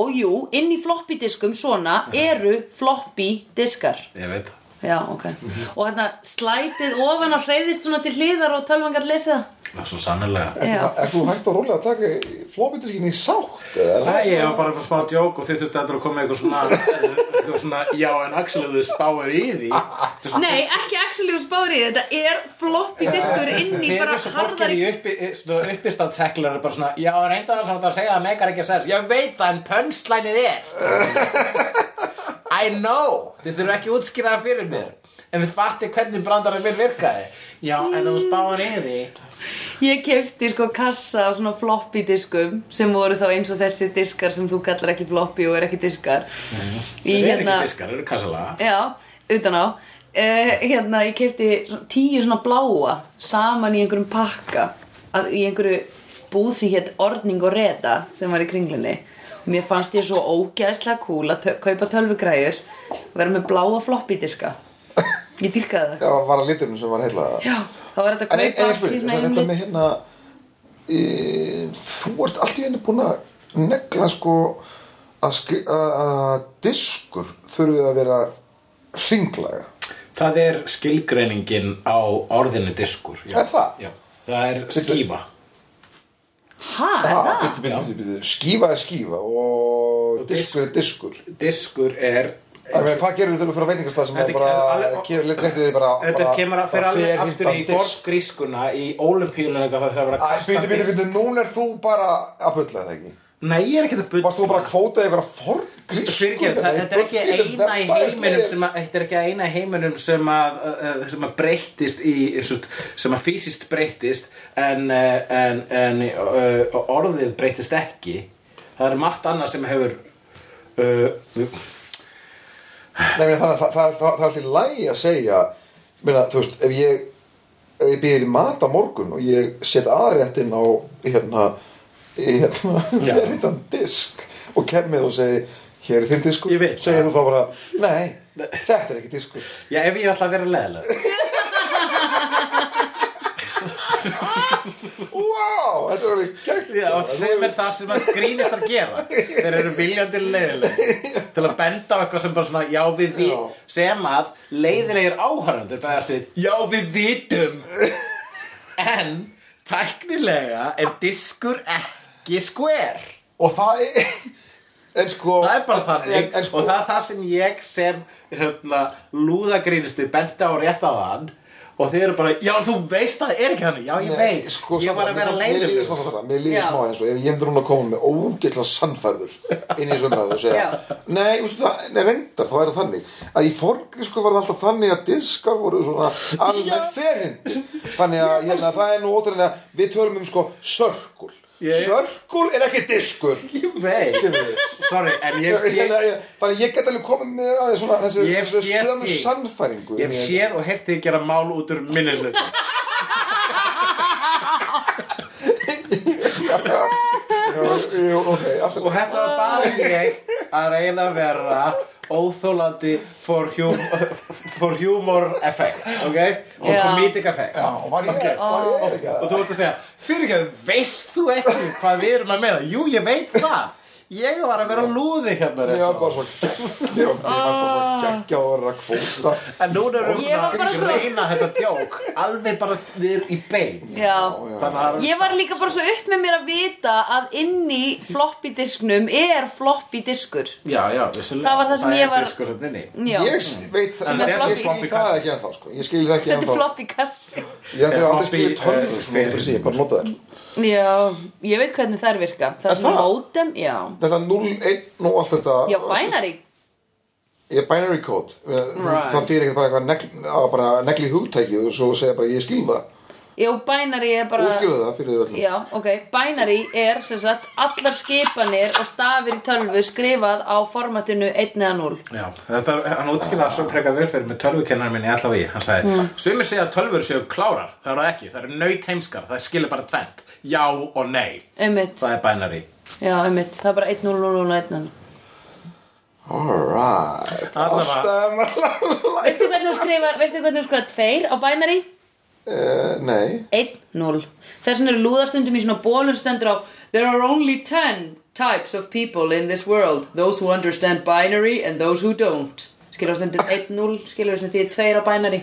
B: Og jú, inn í floppy diskum svona eru floppy diskar
C: Ég veit það
B: Já, ok
C: Mhm.
B: Og þarna slætið ofan og hreyðist svona til hliðar og tölvan gætt lesa
C: Já, svo sannlega
B: það Já,
A: Er þú hægt og rólega að taka floppy diskin í sátt? eða er það-
C: Nei, ég var bara með smá djók og þið þurftu endur að koma með eitthvað svona, eitthvað svona Já, en Axel, ef þú spáir í því þetta er svona-
B: Nei, ekki actually úr spárið, þetta er floppy diskur inn í
C: Þið
B: bara
C: eru svo fólkin
B: harðari
C: í uppi, eh, svona uppistandsheklar bara svona, já, reynda það svona að segja það megar ekki sens Ég veit það, en pönslænið
A: <laughs>
C: er I know Þið þurfum ekki að útskýra það fyrir mér En þið fatti hvernig brandarinn minn virkaði Já, en ef þú spáir í því
B: Ég kefti sko kassa á svona floppy diskum sem voru þá eins og þessi diskar sem þú kallar ekki floppy og er ekki diskar Í
C: Mhm. Þeir eru
B: hérna,
C: ekki diskar, þeir eru kassalaga
B: já, utan á uh, Hérna, ég kefti tíu svona bláa saman í einhverjum pakka að, í einhverju búð sem hétt Ordning og Reda sem var í kringlunni Mér fannst ég svo ógeðslega cool að tö- kaupa tölvugræjur og vera með bláa floppy diska Ég dýrkaði það
A: Já, var að liturinn sem var heila
B: Já, þá var þetta
A: En
B: að
A: ein-
B: kaupa
A: ein
B: allt í
A: spurning,
B: svona
A: þetta
B: einum
A: þetta
B: lit.
A: með hérna e, Þú ert allt í henni búin að negla sko að skri- að að diskur þurfið að vera hringlaga
C: Það er skilgreiningin á orðinu diskur já.
A: Er það?
C: Já, það er skífa
B: Ha, Ah, er það?
A: byrju, byrju, byrju, byrju. Skífa er skífa og
C: Og disk-
A: diskur er diskur
C: Diskur er
A: Ég meina, Hvað gerir þú til að fyrir veitingastað sem
C: Þetta
A: er
C: er-
A: bara
C: alveg-
A: gefur réttið þig bara
C: Þetta
A: bara-
C: kemur að fyrir
A: bara
C: alveg
A: fer
C: aftur í
A: hindan disk?
C: borgrískuna í ólimpíuleika það þarf að vera
A: Æ,
C: kasta
A: býtu, býtu,
C: disk.
A: býtu, núna er þú bara að bulla það ekki
C: Nei, ég er ekki að bulla
A: Varst þú bara að kvóta í eitthvað forngrísku?
C: Fyrirgefðu, það- þetta er ekki eina í heiminum sem að, þetta er ekki eina í heiminum sem að, að, að- sem að breyttist í, sem sagt, sem að fysiskt breyttist en, eh, en, en uh, orðið breyttist ekki það er margt annað sem hefur uh,
A: Nei, meni, þannig að það, það, það, það er allir lægi að segja Meina, þú veist, ef ég ef ég býðir í mat á morgun og ég set aðréttin á hérna, í, hérna <laughs> fyrirtan disk og kemmið og segi hér er þinn diskur,
C: Ég veit
A: segir
C: það.
A: þú þá bara nei, þetta er ekki
C: <laughs>
A: diskur
C: já, ef ég ætla að vera leðileg
A: wow, þetta er alveg gegn
C: Já, og sem er það sem að grínistar gera Þeir eru viljandi leiðileg Til að benda á eitthvað sem bara svona Já við við
A: Já.
C: Sem að leiðilegir áhörundur Bæðast við Já við vitum En tæknilega er diskur ekki square
A: og það er en sko
C: Það er bara
A: en,
C: þannig
A: en sko,
C: Og það er það sem ég sem hérna, Lúðagrínist benda á rétt á hann og þið eru bara, já þú veist að það er ekki hann já ég veit,
A: sko,
C: ég var
A: saman-
C: að vera
A: saman- Mér líður
C: leiður
A: smá svo þetta, mér líður
B: Já.
A: smá eins og ef ég hefði núna að koma með ógeðslega sannfærður inn í þessu umræðu og segja
B: Já.
A: Nei, veistu það, nei, reyndar, þá er það þannig að í forni sko var það alltaf þannig að diskar voru svona alveg ferindi þannig að hérna, það er nú ótrúin að við tölum um sko sörkul
C: Ég-
A: Sörkul er ekki diskur
C: ég veit, sorry, en ég hef séð
A: Þannig að ég- þannig að ég get alveg komið með aðeins svona þessu,
C: Ég
A: þessu
C: sé
A: sömu
C: þig.
A: sannfæringu
C: ég hef séð og heyrt þið gera mál út úr minni hlut
A: Jú, ok, alltaf
C: og þetta var bara ég að reyna að vera óþólandi for, hum for humor effect, ok for
B: Já.
C: comedic effect
A: Já, og var ég, var ég ekki að
C: og þú ert að segja, fyrir ekki, veist þú ekki hvað við erum að meina? Jú, ég veit það ég var að vera lúði hérna
A: Mér
C: rétt
A: var
C: áðan.
A: bara svo geggjað Mér var bara svo geggjað að vera að kvóta
C: en núna erum
B: Ég
C: við
B: var
C: að
B: bara svo-
C: reyna þetta djók alveg bara niður í bein
B: Já,
C: þannig að
B: Ég var líka bara svo upp með mér að vita að inn í floppy disknum er floppy diskur.
C: já, já, vissulega
B: Það var það sem ég var-
C: sko, inni.
B: Já,
A: Ég s- veit
C: En
A: það,
B: þetta
A: ég
B: er
A: skil
C: floppy
A: það
C: kassi.
A: ekki ennþá sko Ég skil það ekki
B: þetta er
A: ennþá
B: floppy kassi.
A: Ég hef aldrei
C: Floppy,
A: skilið tölvur
C: eh, Mm.
A: sem þú fyrir síðan, bara nota þær
B: Já, ég veit hvernig þær virka. Það
A: Er
B: er svona
A: það?
B: mótem, já.
A: Þetta 0-1 og allt þetta
B: Já, binary.
A: Ég binary code Ég meina, þú-
B: Right.
A: Það fyrir ekkert bara eitthvað negl, að bara negli hugtæki og svo segja bara ég skil það
B: Já, binary er bara...
A: Þú skilur það fyrir þér öllum
B: Já, ok. Binary er sem sagt allar skipanir og stafir í tölvu skrifað á formatinu 1 eða 0.
C: Já, þetta, hann útskýrða svo frekar vel fyrir með tölvukennar minni allavega í, hann sagði mm. Sumir segja að tölvur séu klárar, það eru það ekki, það eru nöyt heimskar, það skilur bara tvent, já og nei,
B: Einmitt.
C: það er bænari
B: Já, einmitt. Það er bara 1, 0, 0, 0, 1, 0.
A: Alright
C: Allavega.
A: Alltaf maður
B: Veistu hvernig þú skrifar, veistu hvernig þú skrifar 2 á binary?
A: Eh, Nei
B: 1-0 Þess vegna eru lúðastundum í svona bólum stendur á There are only 10 types of people in this world Those who understand binary and those who don't Skilur það stendur 1-0 Skilur það sem því er tveir á binary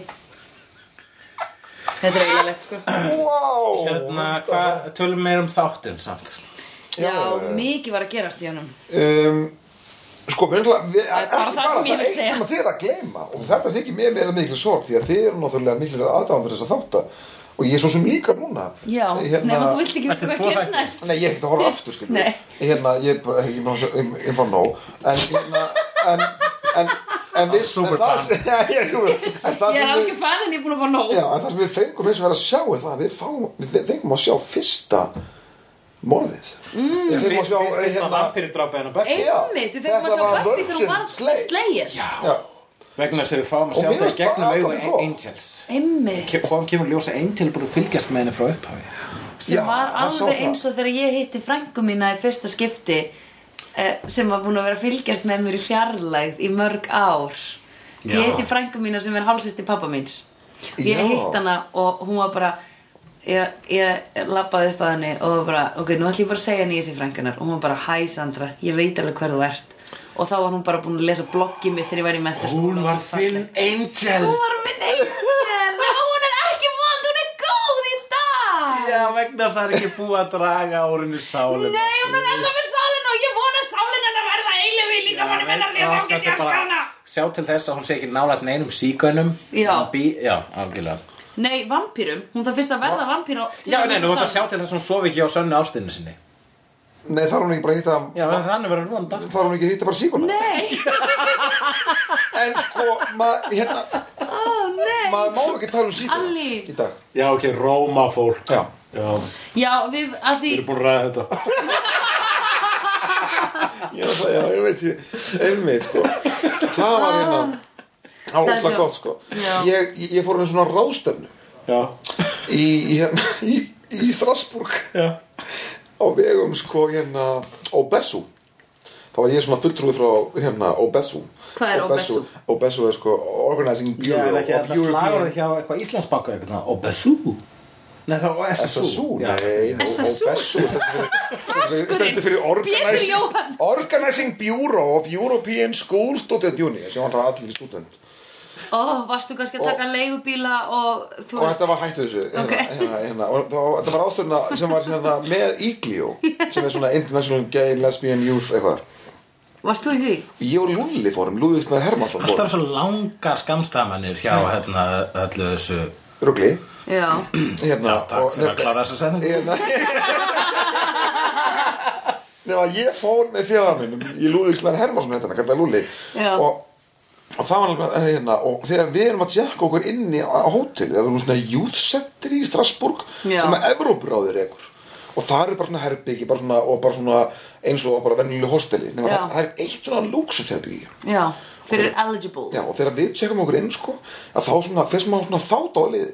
B: Þetta er eiginlega lett sko
A: Wow
C: Hérna, hvað, tölum meir um þáttinn samt
B: Já, mikið var að gerast í honum
A: um, sko, mér er ekki
B: er bara það sem ég vil
A: eitt
B: segja.
A: sem að þið er að gleyma og þetta þykir mér meira miklu sorg því að þið eru náttúrulega miklu aðdáðan þess að þátta og ég er svo sem líka núna
B: Já,
A: Hérna-
B: nema þú vilt ekki
C: Ertu
B: vita hvað
C: tvo
B: gerist
C: þættir?
B: næst
A: Nei, ég er ekkert að horfa aftur, skilur
B: Nei.
A: Hérna, ég er bara, ég er bara, svo- ég er bara nóg En, hérna, en, en, en við
C: Superfan.
A: en það sem- <laughs> Já, ég er superfan En það
B: Ég er
A: sem
B: algjör
A: við
B: fan en ég er búin að fá nóg
A: Já, en það sem við fengum eins og vera að sjá er það að við, fáum, við fengum að sjá fyrsta morðið mm. Við fengum að sjá eh,
C: Fyrst að
A: hérna,
C: vampiridrápa hennar Buffy
B: Einmitt, við fengum að
A: Þetta
B: sjá
A: var
B: Buffy þegar hún
A: Virgin
B: var
A: Slayer.
B: Slayer
A: Já,
C: vegna þess að við fáum að
A: Og
C: sjá
A: mér
C: það í
A: finnst
C: gegnum
A: það
C: augu
A: alveg gott.
C: Angels
B: Einmitt,
C: Ke- Fáum kemur ljósa Angel er búin að fylgjast með henni frá upphafi
B: sem
A: Já,
B: var
A: hann sá
B: alveg
A: það.
B: eins og þegar ég hitti frængu mína í fyrsta skipti eh, sem var búin að vera að fylgjast með mér í fjarlægð í mörg ár
C: Já.
B: ég hitti frængu mína sem er hálsisti pappa míns og ég
A: Já.
B: hitt hana og hún var bara ég, ég labbaði upp að henni og var bara, ok, nú ætlum ég bara að segja henni í þessi frængunar og hún var bara, hæ Sandra, ég veit alveg hver þú ert og þá var hún bara búin að lesa bloggið mitt þegar ég var í mentaskóla
C: Hún var þinn Angel
B: hún var minn
A: <laughs>
B: engel og hún er ekki vond, hún er góð í dag
C: Já, vegna þess að það er ekki búið að draga úr henni sálinu
B: Nei, hún er ennþá með sálina og ég vona sálina að verða eilig við líka manni minna því að það ekki sjáskana.
C: sjá til þess að hún sé ekki nálægt neinum síkönum
B: Já.
C: bí, já algjörlega
B: Nei, vampýrum, hún þarf fyrst að verða vampýr á... til
C: já,
B: þess
C: nei,
B: að
C: nú vant að
B: sá-
C: sjá til þess að hún sofi ekki á sönnu ástinni sinni
A: Nei, þarf hún ekki bara að hitta
C: já, en þannig verður vonda
A: Þarf hún ekki að hitta bara síkuna
B: Nei,
A: En sko, maður hérna,
B: ó nei.
A: mað má ekki tala um síkuna
B: Alli.
A: Í dag
C: já, ok, róma fólk
A: Já.
C: já, við
B: Já, við, að því...
C: erum búin að ræða þetta
A: Já, það, já, ég veit ég, einmitt sko Það var hérna Það var
B: Það er
A: ótrúlega
B: svo-
A: gott sko
B: Já.
A: ég, ég- ég fór henni svona ráðstefnu
C: já,
A: Í, í, hérna, í, í Strasburg
C: já
A: Á vegum sko hérna Obesu Þá var ég svona fulltrúi frá hérna Obesu
B: Hvað er Obesu?
A: Obesu er sko Organizing
C: já,
A: Bureau
C: en ekki
A: of
C: að það slagur
A: European
C: hjá eitthvað Íslandsbanka eitthvað, svona, Obesu nei, þá SSU
A: SSU,
C: Já.
A: nei, nú,
B: SSU.
A: Obesu stendur fyrir
B: Pétur
A: organizing,
B: Jóhann.
A: organizing Bureau of European School Student Union sem hann var allir student
B: Ó, varstu kannski að taka leigubíla og þú
A: og
B: veist...
A: þetta var hættu þessu hérna,
B: Ok.
A: hérna, hérna. og þá- þetta var ástöðuna sem var hérna, með Iglio sem er svona International Gay Lesbian Youth eitthvað
B: Varst þú í því?
A: ég og Lulli fórum, Lúðvíknar Hermansson fórum
C: alltaf svo langar skamstamanir hjá hérna, öllu þessu
A: rugli
B: já,
A: <clears throat> hérna,
C: Takk
A: og-
C: fyrir að klára þessa setning
A: Hérna Nefna ég fór með félaga minnum í Lúðvíkslæðan Hermansson hérna, kallar Lúli
B: Já.
A: og, og það var alveg eh, hérna, og þegar við erum að jakka okkur inni á, á hótel, það er nú svona youth center í Strasbourg
B: Já.
A: sem að Evrópuráður ekkur og það eru bara svona herbyggi bara svona, og bara svona eins og bara venjuleg hosteli nema
B: Já.
A: það, það er eitt svona lúksusherbyggi
B: já fyrir eligible
A: Já, og þegar við tjekkum okkur inn sko, að þá svona, fyrst maður svona fát á liði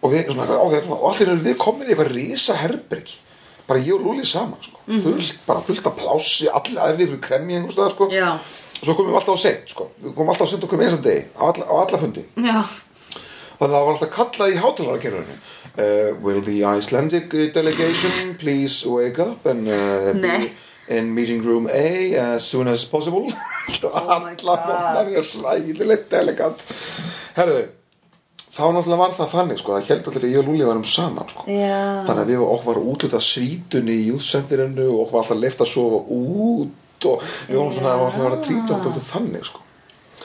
A: og við svona, ok, svona, og allir erum við komin í eitthvað risa herbergi bara ég og Lúli saman sko. fullt, bara fullt af plási allir aðrir ykkur kremji einhvers staðar sko.
B: Já.
A: og svo komum við alltaf á seint sko. við komum alltaf á seint og komum einsan degi á alla, á alla fundi
B: já,
A: þannig að það var alltaf kallað í hátalarakerfinu uh, Will the Icelandic uh, delegation please wake up and uh,
B: Nei.
A: be in meeting room A as soon as possible
B: Oh my God.
A: það er slæðilegt elegant herðu þá náttúrulega var það þannig sko, það held allir að ég og Lúli varum saman sko.
B: Já.
A: þannig að við okkur var útlitað svítunni í útsendirinu og okkur var alltaf leift að sofa út og við varum svona, það var svona að vera trýta okkur þannig sko.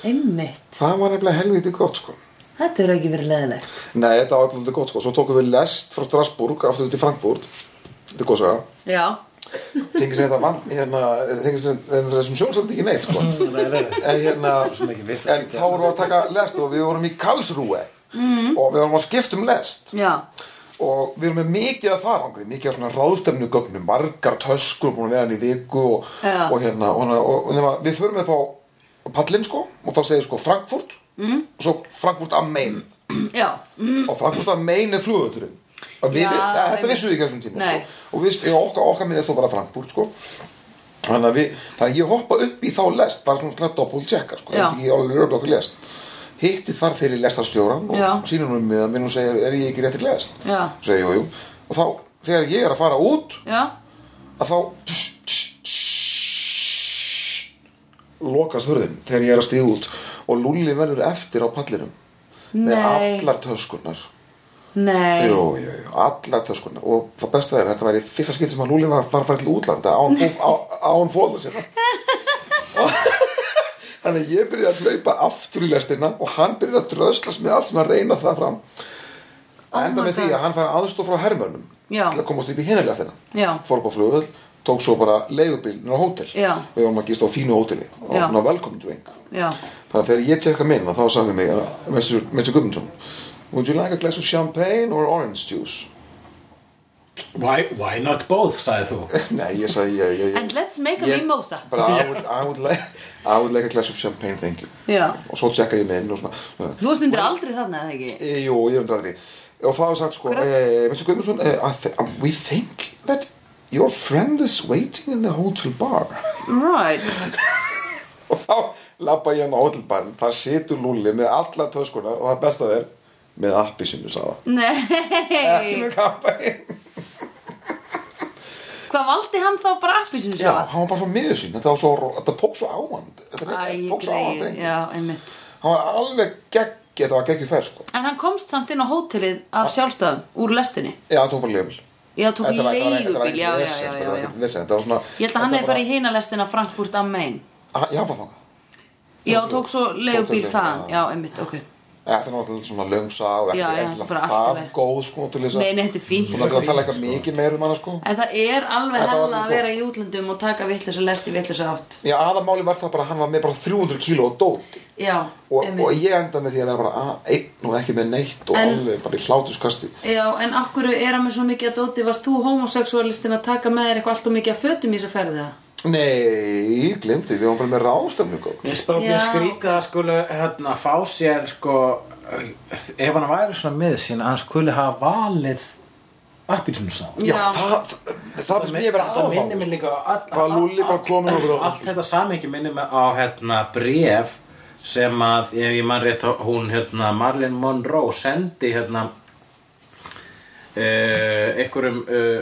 B: einmitt
A: það var nefnilega helviti gott sko.
B: þetta eru ekki verið leðilegt
A: Nei, þetta var alltaf gott sko Svo tókum við lest frá Strasbourg aftur til Frankfurt Þetta er góð saga
B: já,
A: Þengið sem þetta vann hérna, Þengið sem en þessum sjónsandi ekki neitt sko
C: Mhm.
A: En hérna
C: sem ekki vissi
A: En þá vorum við að taka lest og við vorum í Karlsruhe mm. Og við vorum að skipta um lest
B: Mhm. já,
A: og við erum með mikið að farangri mikið að svona ráðstefnugögnu, margar töskur búin að vera hann í viku og,
B: Já.
A: og hérna, og, hana- og, og nema, við förum upp á pallin sko, og þá segir sko Frankfurt mm.
B: Mhm.
A: og svo Frankfurt am Main
B: já
A: og Frankfurt að meina flugöldurinn og við,
B: Já,
A: við, þetta
B: einmitt.
A: vissum við ekki á þessum tíma
B: Nei.
A: sko. og við, ég, okkar, okkar miðið þó bara Frankfurt sko. þannig að við, þannig að ég hoppa upp í þá lest bara svona til að doppult tjekka sko.
B: Já.
A: Ég- ég alveg röfla okkur lest hitti þar fyrir lestarstjóran
B: Já.
A: og sínum um mig að minn og segja er ég ekki réttir lest
B: Já.
A: Segi, jú, jú. og þá þegar ég er að fara út
B: já,
A: að þá lokast hurðin þegar ég er að stíða út og Lúli verður eftir á pallinum með
B: Nei.
A: allar töskurnar
B: nei
A: Jú, jú, jú, allar töskunar og það besta er að þetta væri fyrsta skipt sem að Lúli var, var að fara til útlanda án, á- á- án fóða sér
B: <laughs>
A: Þannig að ég byrjaði að hlaupa aftur í lestina og hann byrjaði að dröðslast með allt svona að reyna það fram að enda
B: Oh my
A: með því
B: God.
A: að hann fær aðstof frá hermönnum
B: Já.
A: til að komast upp í hinari lestina
B: Já.
A: fór upp á flugvöld, tók svo bara leigubíl á hótel,
B: Já.
A: við varum að gista á fínu hóteli og
B: Já.
A: svona velkominn til einhver
B: já,
A: Þannig að þegar ég tjekka minn þá sagði mig að Mr. Mr. Guðmundsson Would you like a glass of champagne or orange juice? <laughs>
C: why, why not both, sagði þú
A: Nei, ég sagði ég, ég, ég
B: And let's make a
A: ég-
B: mimosa.
A: Bara I would, I, would like, I would like a glass of champagne, thank you
B: já
A: Og svo tjekka ég minn og svona, svona
B: þú stundir aldrei þarna eða ekki
A: e, Jú, ég undraði því Og þá er sagt sko eh, Mr. Guðmundsson, eh, I th We think that your friend is waiting in the hotel bar <laughs>
B: right,
A: og þá lappa ég hann á hotelbarn þar situr Lúli með alla töskunar og það besta er með appi sinu sáða ekki
B: nei
A: með kampaðinn
B: hvað valdi hann þá bara appísinu
A: já, hann var bara svo miður sín þetta, var svo, þetta tók svo á hann þetta
B: Æ,
A: tók svo á hann
B: greið,
A: drenginn.
B: já, einmitt
A: hann var alveg gegg þetta var geggju fær sko
B: En hann komst samt inn á hótelið af sjálfstöðum, úr lestinni.
A: já, það tók bara leifil
B: Já, tók
A: þetta var
B: leigubíl,
A: ekkert
B: já, já,
A: vesen,
B: já,
A: þetta
B: já,
A: var
B: já.
A: ekkert vesen, þetta var svona
B: Ég held að hann
A: þetta
B: hefði
A: var
B: farið í hina lestina Frankfurt am Main.
A: bara- já, hann var þangað
B: Já, tók svo leigubíl
A: leigubíl,
B: þaðan,
A: já.
B: já, einmitt, ok.
A: þetta var náttúrulega svona löngsa og
B: Já, já,
A: ekki endilega
B: bara allt í
A: það
B: lagi.
A: góð sko til þess að
B: Nei, nei, þetta er fínt.
A: svona til að tala eitthvað mikið meir um hana sko
B: En það er alveg
A: Þetta var
B: hella
A: alveg
B: að vera í útlöndum og taka vittlis og lesti vittlis átt.
A: já, aðamáli var það bara að hann var með bara 300 kíló og dóti
B: Já,
A: og, og
B: einmitt.
A: ég enda með því að vera bara að, einn og ekki með neitt og
B: En-
A: alveg bara í hlátuskasti
B: Já, en akkur er hann með svo mikið að dóti, varst þú homoseksualistin að taka með þér eitthvað allt og mikið að fötum í þess að ferði það?
A: nei, glimti, við varum bara með ráðstöfningu
C: Mér finnst bara
B: Já.
C: mjög skrítið að skulu hérna, fá sér sko, ef hann væri svona miður sín að hann skuli hafa valið appilsinu sá
A: já,
B: Já.
A: það, það, það finnst mér að vera
C: Það minnir mig
A: aðamáli
C: líka á all-
A: Bara Lúlli bara kominn og bara-
C: Allt þetta samengi minnir mig á hérna bref sem að ef ég mann rétt hún hérna Marlin Monroe sendi hérna Uh, einhverjum uh,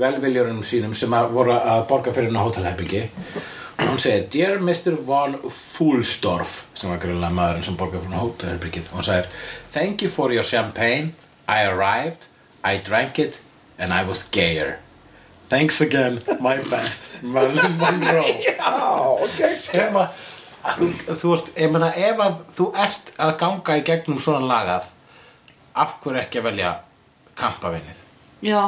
C: velviljurum sínum sem að voru að borga fyrir hennar hótelherbyggi og hún segir Dear Mr. Von Fuhlstorf sem var greinlega maðurinn sem borgaði fyrir hennar hótelherbyggið og hún segir Thank you for your champagne I arrived, I drank it and I was gayer Thanks again, my best Marilyn Monroe
A: já, ok
C: sem að að þú, þú veist, ég meina ef að þú ert að ganga í gegnum svona lagað af hverju ekki að velja kampavinnið
B: já,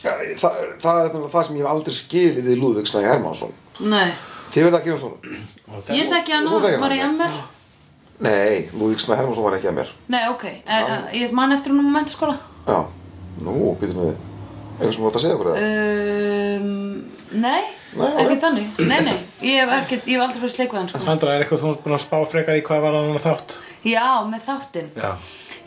A: Ja, það, það er nefnilega það sem ég hef aldrei skilið við Lúðvík Snæ Hermansson
B: nei
A: Þið verða að gefa svona
C: og þess,
B: Ég þekki hann
A: Þú
B: og
A: þekkir
B: hann var í
A: hann,
B: MR
A: Nei, Lúðvík Snæ Hermansson var ekki að mér
B: Nei, ok, er, ég man eftir hann um mentaskóla
A: Já, nú, býtum við Eitthvað sem þú átt að segja okkur það
B: um, Nei,
A: Nei, ok.
B: ekki þannig Nei, nei, ég hef, ekkert, ég hef aldrei fyrir sleik við hann sko.
C: Sandra, er eitthvað þú er búin að spá frekar í hvað var hann þátt?
B: Já, með þáttinn
C: Já.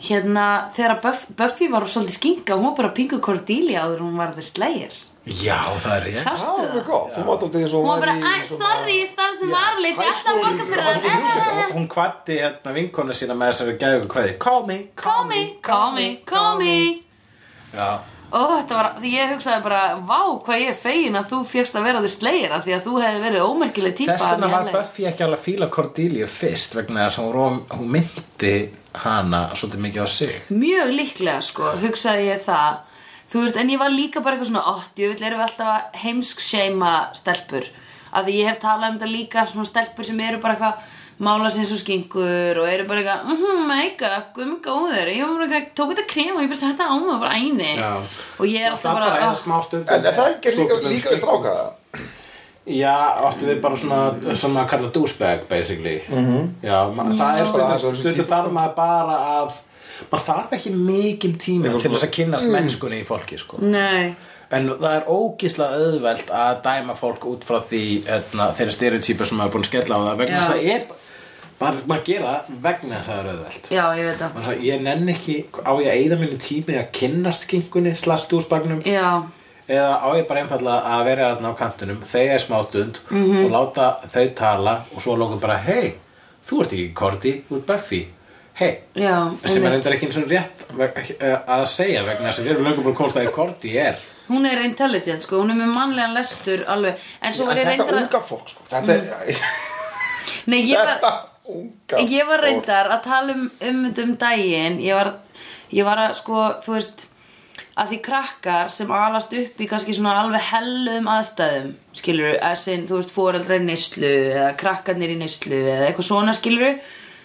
B: Hérna, þegar Buff, Buffy var svolítið skinka Hún var bara pingu Cordelia áður en hún var þeir slegir
C: Já, það er rétt.
A: Já,
B: Sástu
A: það er
B: það?
A: gott, hún var aldrei eins og
B: Hún var bara,
A: væri
B: æ,
A: svona-
B: sorry, ég stans þið varlit Ég
A: High
B: ætla að
A: school-
B: borga
A: high school
B: fyrir
A: musical.
B: það Eh,
C: Hún kvatti hérna vinkonu sína með þessari gæðu kveði. Call me,
B: Call me, call me, call me
C: Já.
B: Ó, þetta var, því ég hugsaði bara Vá, hvað ég er fegin að þú férst að vera þið slegir Því að þú hefði verið ómerkileg típa
C: Þess vegna
B: í
C: var
B: LA.
C: Buffy ekki alveg að fíla Cordelia fyrst vegna þess að hún, róm- hún myndi hana svolítið mikið á sig.
B: Mjög líklega sko, hugsaði ég það Þú veist, en ég var líka bara eitthvað svona ótt, ég vil erum við alltaf að heimsk seima stelpur Af því ég hef talað um þetta líka, svona stelpur sem eru bara eitthvað mála sem svo skinkur og eru bara eitthvað, mhm, makeup, gummi góður ég var bara eitthvað, tók þetta krem og ég bara sætti þetta á mig bara æni
C: Já.
B: og ég er alltaf bara,
C: eða
B: "Ah,
C: smá stund.
A: En er það ekki líka, líka við stráka
C: Já, áttu við bara svona, svona að kalla douchebag basically. Já, ma- það er
A: Bara aðeins á
C: stundum,
A: þessu
C: stundum
A: tíma.
C: þarf maður bara að, maður þarf ekki mikinn tíma til
A: svona-
C: þess að kynnast
A: Mm.
C: mennskunni í fólki sko.
B: nei
C: En það er ógíslega auðvelt að dæma fólk út frá því hérna, þeirra stereotypa sem maður er búin að skella á það vegna þess
B: Já.
C: að það er bara maður gera það vegna þess að það er auðvelt.
B: Já, ég veit það
C: Maður sagði, ég nenn ekki, á ég að eyða minni tími í að kynnast kinkunni slast úr spagnum
B: Já,
C: eða á ég bara einfallega að vera þarna á kantunum þegar er smáttund og láta þau tala og svo lókum bara hei, þú ert ekki Korti, þú ert Buffy hei,
B: Já,
C: sem er
B: einmitt.
C: reyndar ekki eins og rétt veg- eh, að segja vegna þess að við erum lögum búin að komast að því Korti er
B: hún er intelligent sko, hún er með mannlegan lestur alveg, en svo
A: En
B: var ég
A: þetta
B: reyndar að-
A: unga fólk sko. Þetta er
B: Nei, ég var,
A: <laughs> Þetta unga
B: Ég var
A: fólk.
B: reyndar að tala um um þetta um daginn ég var, ég var að sko, þú veist að því krakkar sem alast upp í kannski svona alveg hellum aðstæðum skilur, að sinn, þú veist, foreldrar í neyslu eða krakkarnir í neyslu eða eitthvað svona skilur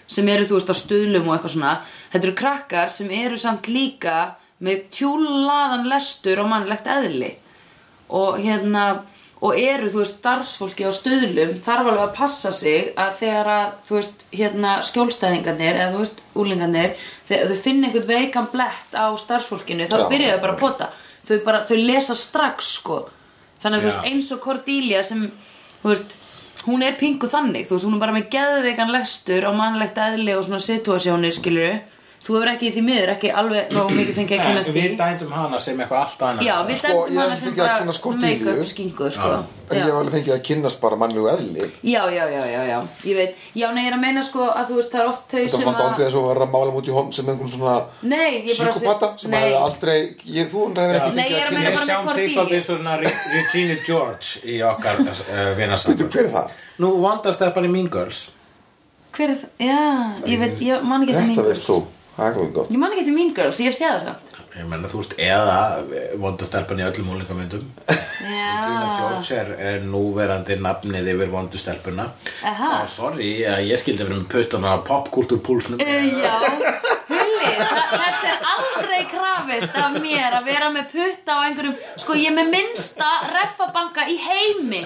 B: sem eru, þú veist, á stuðlum og eitthvað svona þetta eru krakkar sem eru samt líka með tjúlaðan lestur og mannlegt eðli og hérna og eru, þú veist, starfsfólki á stöðlum þarf alveg að passa sig að þegar að, þú veist, hérna skjólstæðingarnir eða, þú veist, úlingarnir þegar þau finna einhvern veikan blett á starfsfólkinu, þá
A: Já.
B: byrja þau bara að pota þau bara, þau lesa strax, sko þannig að, þú
C: Já.
B: veist, eins og Cordelia sem, þú veist, hún er pingu þannig, þú veist, hún er bara með geðveikan lestur á mannlegt eðli og svona situasjónir, skilur þú hefur ekki í því miður, ekki alveg nógu mikið fengið að kynast
C: við
B: því
C: dæmdum hana sem eitthvað allt annað
B: Já, við
A: Sko,
B: dæmdum
A: ég
B: hana
A: hef
B: sem
A: fengið að
B: bara
A: kynnast Cordelia.
B: make-up skingu, sko.
A: En
B: Já.
A: ég hef alveg fengið að kynnast bara mannlegu eðli
B: já, já, já, já, já, ég veit. Já, nei, ég er að meina, sko, að þú veist, það er oft þau
A: Þetta er
B: sem
A: svona dálítið
B: að...
A: eins og var að mála múti í honum sem einhvern svona
B: Nei, ég bara...
A: Psykopata sem
B: nei,
A: hefði aldrei ég, Þú hefur ekki
B: Nei,
A: fengið
B: ég er að
A: að
B: meina
A: kynnast
B: bara með
C: Við sjáum þig
B: Cordelia.
C: svolítið svona Re- Regina George í okkar uh,
A: Veitu,
C: vinarsambann
A: Hver er það?
C: <laughs> Nú, vandast það bara í Mean Girls
B: Hver er það? Já, ég veit, ég man ekki eftir Mean
A: Þetta
B: Girls.
A: veist þú Það er komið gott
B: Ég man ekki eftir Mean Girls, ég hef séð það samt.
C: Ég menna þú veist, eða vondastelpan í öllum úlingamyndum
B: Já,
C: Regina George er, er núverandi nafnið yfir vondustelpuna
B: Aha.
C: Og sorry, eh, ég skildi verið með puttana á popkultúrpúlsnum
B: Eh, já. Hulli, þa- þess er aldrei krafist af mér að vera með putta á einhverjum, sko ég er með minnsta reffabanka í heimi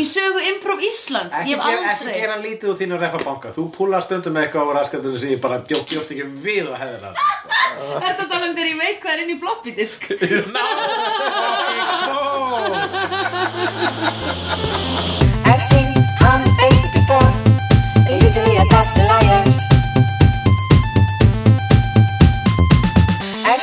B: í sögu Improv Íslands
C: Ekki,
B: ég hef
C: gera-
B: aldrei
C: ekki gera lítið úr þínu refabanka Þú púlar stundum með eitthvað á raskatunum sem ég bara bjók, bjóst ekki við að hefða það
B: Ertu að tala um þegar ég veit hvað er inn í floppy disk?
D: I've seen honest faces before. They're usually a pass to liars. I've